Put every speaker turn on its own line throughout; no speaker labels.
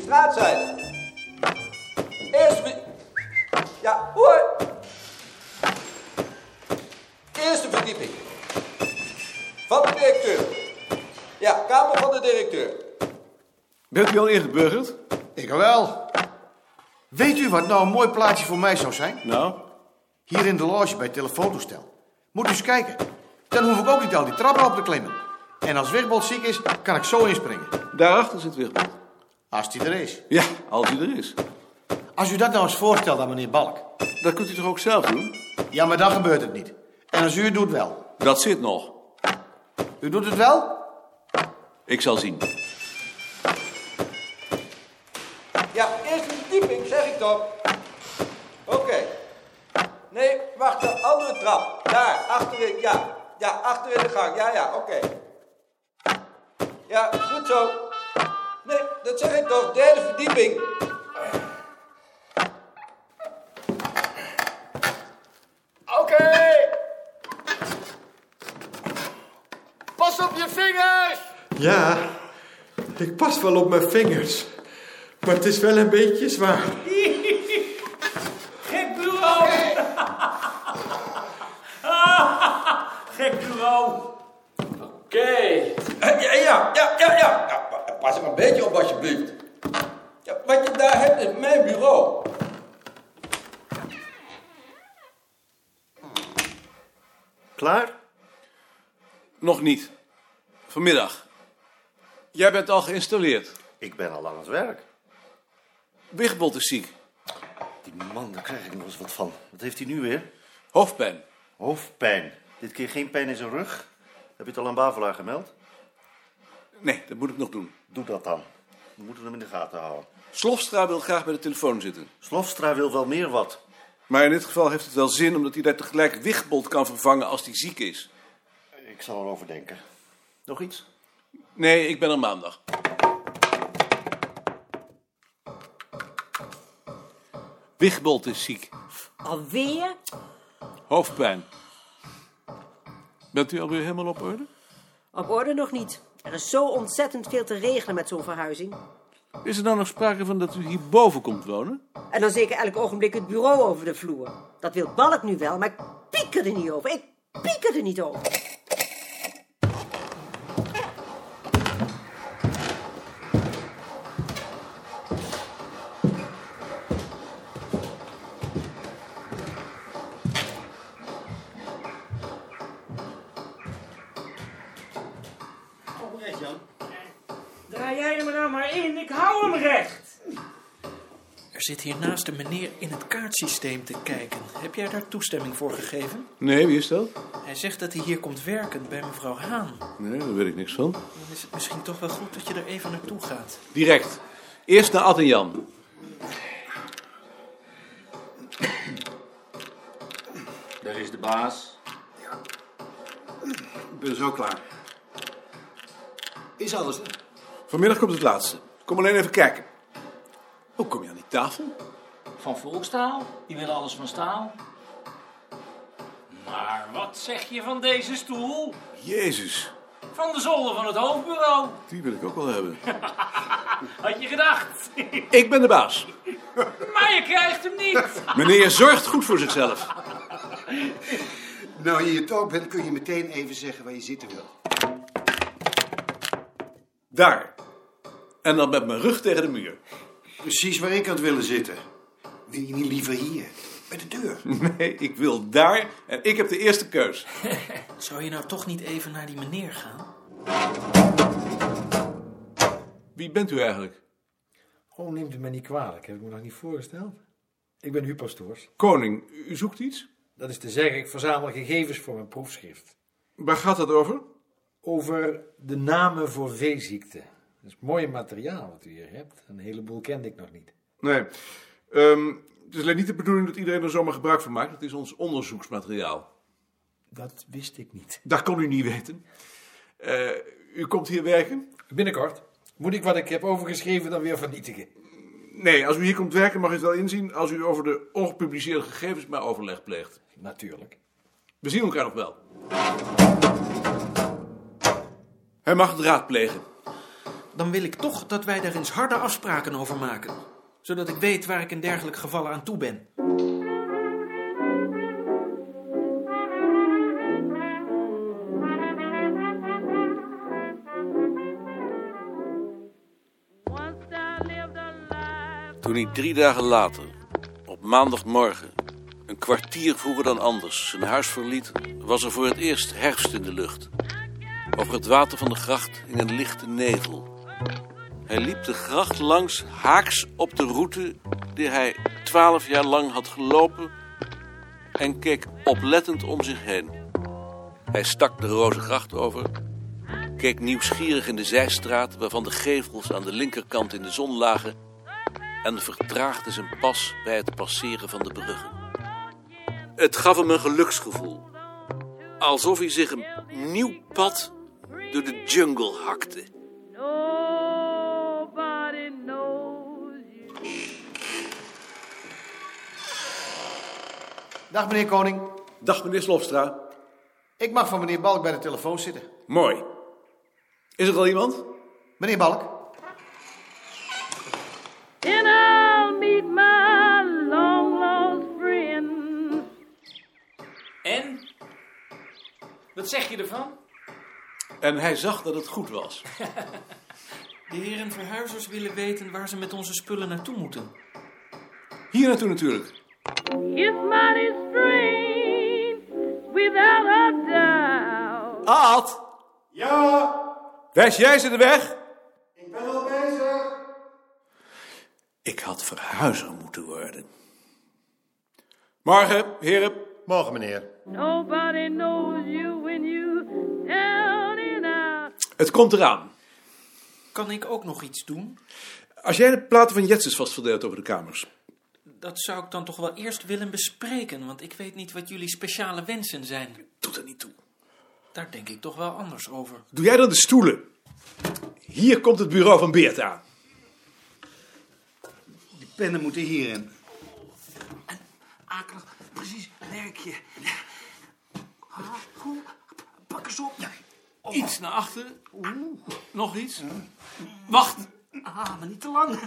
straat zijn. Eerst wie... Ja, hoi. Eerste verdieping. Van de directeur. Ja, kamer van de directeur.
Bent u al ingeburgerd?
Ik wel. Weet u wat nou een mooi plaatje voor mij zou zijn?
Nou,
Hier in de loge bij het telefoontoestel. Moet u eens kijken. Dan hoef ik ook niet al die trappen op te klimmen. En als Wigbold ziek is, kan ik zo inspringen.
daarachter zit Wichtbold.
Als die er is.
Ja, als hij er is.
Als u dat nou eens voorstelt aan meneer Balk.
Dat kunt u toch ook zelf doen?
Ja, maar dan gebeurt het niet. En als u het doet wel.
Dat zit nog.
U doet het wel?
Ik zal zien.
Ja, eerste verdieping, zeg ik toch. Oké. Nee, wacht, de andere trap. Daar, achterin, ja. Ja, achter in de gang. Ja, ja, oké. Ja, goed zo. Nee, dat zeg ik toch. Derde verdieping.
Oké! Pas op je vingers!
Ja, ik pas wel op mijn vingers. Maar het is wel een beetje zwaar.
Gek bureau! Gek bureau!
Oké.
Ja, Eh, ja, ja, ja, ja. ja. pa- Pas er een beetje op, alsjeblieft. Ja, wat je daar hebt is mijn bureau.
Klaar?
Nog niet. Vanmiddag. Jij bent al geïnstalleerd.
Ik ben al aan het werk.
Wichtbold is ziek.
Die man, daar krijg ik nog eens wat van. Wat heeft hij nu weer?
Hoofdpijn.
Hoofdpijn. Dit keer geen pijn in zijn rug. Heb je het al aan Bavelaar gemeld?
Nee, dat moet ik nog doen.
Doe dat dan. We moeten hem in de gaten houden.
Slofstra wil graag bij de telefoon zitten.
Slofstra wil wel meer wat.
Maar in dit geval heeft het wel zin omdat hij daar tegelijk Wichtbold kan vervangen als hij ziek is.
Ik zal erover denken. Nog iets?
Nee, ik ben er maandag. Wichtbold is ziek.
Alweer?
Hoofdpijn. Bent u alweer helemaal op orde?
Op orde nog niet. Er is zo ontzettend veel te regelen met zo'n verhuizing.
Is er nou nog sprake van dat u hierboven komt wonen?
En dan zeker elk ogenblik het bureau over de vloer. Dat wil Balk nu wel, maar ik piek er niet over. Ik piek er niet over.
Draai jij hem nou maar in, ik hou hem recht!
Er zit hiernaast een meneer in het kaartsysteem te kijken. Heb jij daar toestemming voor gegeven?
Nee, wie is dat?
Hij zegt dat hij hier komt werken bij mevrouw Haan.
Nee, daar weet ik niks van.
Dan is het misschien toch wel goed dat je er even naartoe gaat.
Direct. Eerst naar Ad en Jan.
Daar is de baas.
Ik ben zo klaar. Is alles er?
Vanmiddag komt het laatste. Kom alleen even kijken. Hoe kom je aan die tafel?
Van volkstaal? Die willen alles van staal. Maar wat zeg je van deze stoel?
Jezus,
Van de zolder van het hoofdbureau.
die wil ik ook wel hebben.
Had je gedacht?
Ik ben de baas.
Maar je krijgt hem niet.
Meneer zorgt goed voor zichzelf.
Nou, je het ook bent, kun je meteen even zeggen waar je zitten wilt.
Daar. En dan met mijn rug tegen de muur.
Precies waar ik had willen zitten. Wil je niet liever hier? Bij de deur.
Nee, ik wil daar en ik heb de eerste keus.
Zou je nou toch niet even naar die meneer gaan?
Wie bent u eigenlijk?
Oh, neemt u mij niet kwalijk. Heb ik me nog niet voorgesteld. Ik ben Huub Pastoors.
Koning, u zoekt iets?
Dat is te zeggen, ik verzamel gegevens voor mijn proefschrift.
Waar gaat dat over?
Over de namen voor veeziekten. Dat is mooi materiaal wat u hier hebt. Een heleboel kende ik nog niet.
Nee. Ehm, het is alleen niet de bedoeling dat iedereen er zomaar gebruik van maakt. Het is ons onderzoeksmateriaal.
Dat wist ik niet.
Dat kon u niet weten. Eh, u komt hier werken?
Binnenkort moet ik wat ik heb overgeschreven dan weer vernietigen.
Nee, als u hier komt werken mag u het wel inzien als u over de ongepubliceerde gegevens maar overleg pleegt.
Natuurlijk.
We zien elkaar nog wel. Hij mag het raadplegen.
dan wil ik toch dat wij daar eens harde afspraken over maken. Zodat ik weet waar ik in dergelijke gevallen aan toe ben.
Toen hij drie dagen later, op maandagmorgen, een kwartier vroeger dan anders, zijn huis verliet, was er voor het eerst herfst in de lucht. Over het water van de gracht in een lichte nevel. Hij liep de gracht langs haaks op de route die hij twaalf jaar lang had gelopen en keek oplettend om zich heen. Hij stak de Rozengracht over, keek nieuwsgierig in de zijstraat waarvan de gevels aan de linkerkant in de zon lagen en vertraagde zijn pas bij het passeren van de bruggen. Het gaf hem een geluksgevoel, alsof hij zich een nieuw pad door de jungle hakte.
Dag meneer Koning.
Dag meneer Slofstra.
Ik mag van meneer Balk bij de telefoon zitten.
Mooi. Is er al iemand?
Meneer Balk,
And I'll meet my long lost friend.
En? Wat zeg je ervan?
En hij zag dat het goed was.
De heren verhuizers willen weten waar ze met onze spullen naartoe moeten.
Hier naartoe natuurlijk.
It's mighty strange without a doubt.
Aad,
Ja,
wijs jij ze de weg?
ik ben al bezig.
Ik had
Nou,
verhuizer moeten worden.
Morgen, heren.
Morgen, meneer.
Nobody knows you when you down and out.
Het komt eraan.
Kan ik ook nog iets doen?
Als jij de platen van Jetsens vast verdeelt over de kamers.
Dat zou ik dan toch wel eerst willen bespreken, want ik weet niet wat jullie speciale wensen zijn.
Doet er niet toe.
Daar denk ik toch wel anders over.
Doe jij dan de stoelen? Hier komt het bureau van Beert aan.
Die pennen moeten hierin.
Akelig, precies, merk je. Ah, Hoe? Pak eens op. Oh.
Iets naar achteren. Nog iets. Wacht.
Ah, maar niet te lang.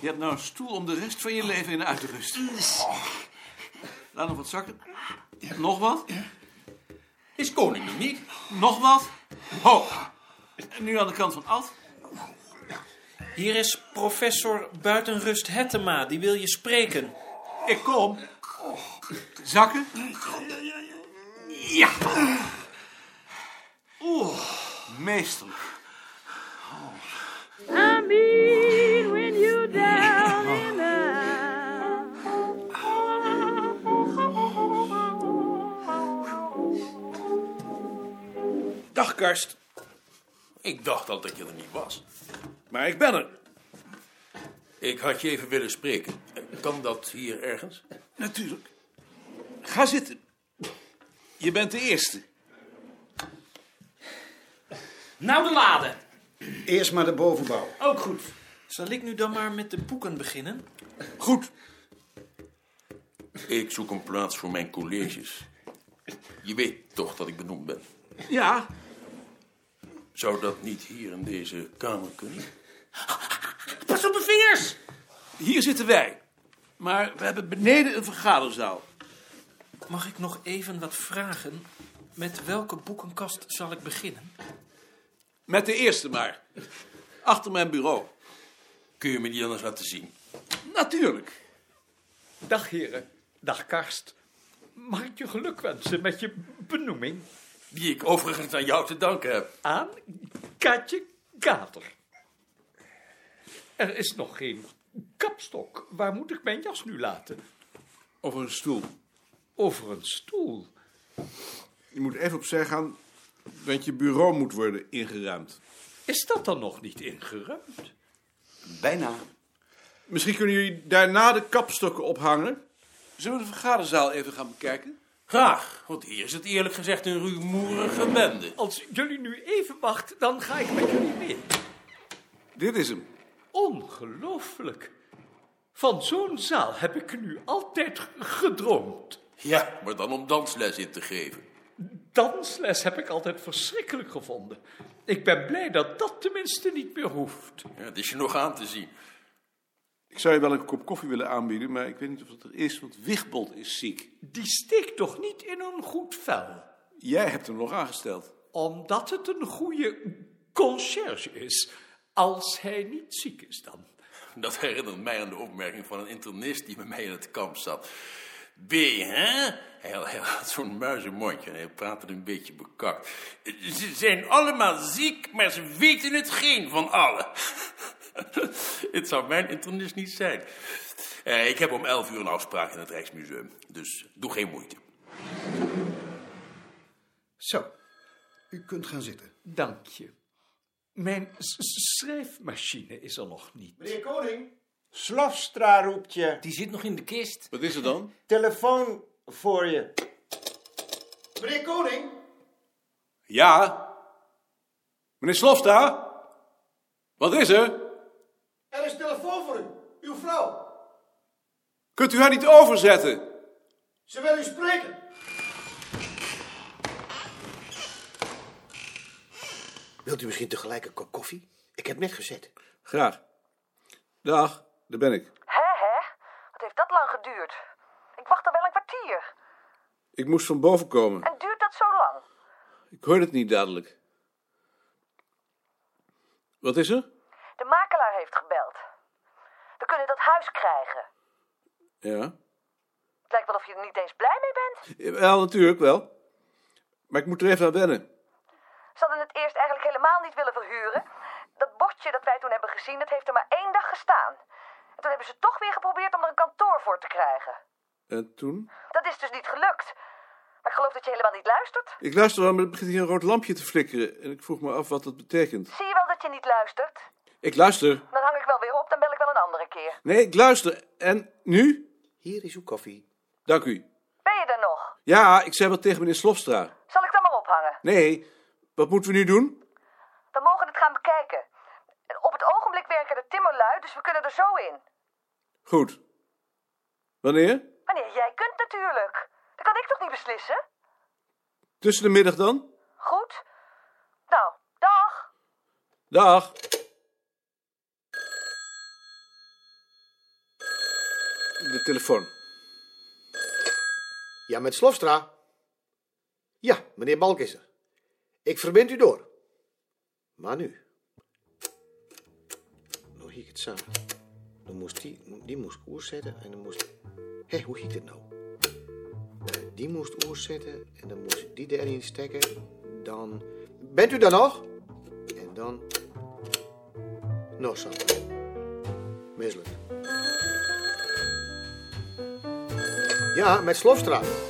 Je hebt nou een stoel om de rest van je leven in uit te rusten.
Oh.
Oh. Laat nog wat zakken. Nog wat. Is koning nog niet? Nog wat. Ho. En nu aan de kant van Ad.
Hier is professor Buitenrust Hettema, die wil je spreken.
Ik kom. Zakken. Ja. Oeh. Meesterlijk.
I mean when you down and out.
Dag, Karst. Ik dacht al dat je er niet was. Maar ik ben er.
Ik had je even willen spreken. Kan dat hier ergens?
Natuurlijk. Ga zitten. Je bent de eerste.
Nou, de lade.
Eerst maar de bovenbouw.
Ook goed.
Zal ik nu dan maar met de boeken beginnen?
Goed.
Ik zoek een plaats voor mijn colleges. Je weet toch dat ik benoemd ben.
Ja.
Zou dat niet hier in deze kamer kunnen?
Pas op de vingers!
Hier zitten wij. Maar we hebben beneden een vergaderzaal.
Mag ik nog even wat vragen? Met welke boekenkast zal ik beginnen?
Met de eerste maar. Achter mijn bureau.
Kun je me die anders laten zien?
Natuurlijk.
Dag heren, dag Karst. Mag ik je geluk wensen met je benoeming
Die ik overigens aan jou te danken heb.
aan Katje Kater? Er is nog geen kapstok. Waar moet ik mijn jas nu laten?
Over een stoel.
Over een stoel.
Je moet even opzij gaan, want je bureau moet worden ingeruimd.
Is dat dan nog niet ingeruimd?
Bijna. Misschien kunnen jullie daarna de kapstokken ophangen.
Zullen we de vergaderzaal even gaan bekijken?
Graag, want hier is het eerlijk gezegd een rumoerige bende.
Als jullie nu even wachten, dan ga ik met jullie mee.
Dit is hem.
Ongelooflijk. Van zo'n zaal heb ik nu altijd g- gedroomd.
Ja, maar dan om dansles in te geven.
Dansles heb ik altijd verschrikkelijk gevonden.
Ik ben blij dat dat tenminste niet meer hoeft.
Ja, het is je nog aan te zien.
Ik zou je wel een kop koffie willen aanbieden, maar ik weet niet of dat er is, want Wigbold is ziek.
Die steekt toch niet in een goed vel?
Jij hebt hem nog aangesteld.
Omdat het een goede conciërge is. Als hij niet ziek is dan.
Dat herinnert mij aan de opmerking van een internist die bij mij in het kamp zat. B, hè? Hij, hij had zo'n muizenmondje en hij praatte een beetje bekakt. Ze zijn allemaal ziek, maar ze weten het geen van allen. het zou mijn internist niet zijn. Eh, ik heb om elf uur een afspraak in het Rijksmuseum, dus doe geen moeite.
Zo,
U kunt gaan zitten.
dank je. Mijn s- s- schrijfmachine is er nog niet.
Meneer Koning. Slofstra roept je.
Die zit nog in de kist.
Wat is er dan?
Telefoon voor je.
Meneer Koning.
Ja? Meneer Slofta? Wat is er?
Er is telefoon voor u. Uw vrouw.
Kunt u haar niet overzetten?
Ze wil u spreken.
Wilt u misschien tegelijk een kop koffie? Ik heb net gezet.
Graag. Dag, daar ben ik.
Hè, hè? Wat heeft dat lang geduurd? Ik wacht al wel een kwartier.
Ik moest van boven komen.
En duurt dat zo lang?
Ik hoorde het niet dadelijk. Wat is er?
De makelaar heeft gebeld. We kunnen dat huis krijgen.
Ja.
Het lijkt wel of je er niet eens blij mee bent.
Wel, natuurlijk wel. Maar ik moet er even aan wennen.
Ze hadden het eerst eigenlijk helemaal niet willen verhuren. Dat bordje dat wij toen hebben gezien, dat heeft er maar één dag gestaan. En toen hebben ze toch weer geprobeerd om er een kantoor voor te krijgen.
En toen?
Dat is dus niet gelukt. Maar ik geloof dat je helemaal niet luistert.
Ik luister wel, maar er begint hier een rood lampje te flikkeren. En ik vroeg me af wat dat betekent.
Zie je wel dat je niet luistert?
Ik luister.
Dan hang ik wel weer op, dan bel ik wel een andere keer.
Nee, ik luister. En nu?
Hier is uw koffie.
Dank u.
Ben je er nog?
Ja, ik zei wat tegen meneer Slofstra.
Zal ik dan maar ophangen?
Nee, wat moeten we nu doen?
We mogen het gaan bekijken. Op het ogenblik werken de timmerlui, dus we kunnen er zo in.
Goed. Wanneer?
Wanneer jij kunt natuurlijk. Dat kan ik toch niet beslissen?
Tussen de middag dan?
Goed. Nou, dag.
Dag. De telefoon.
Ja, met Slofstra. Ja, meneer Balk is er. Ik verbind u door. Maar nu. Nou, hier het samen. Dan moest die, die moest koers zetten en dan moest... Hé, hoe hiet het nou? Eh, Die moest oers zetten en dan moest die erin steken. Dan... Bent u daar nog? En dan... Nou, Sam. Misselijk. Ja, met Slofstra.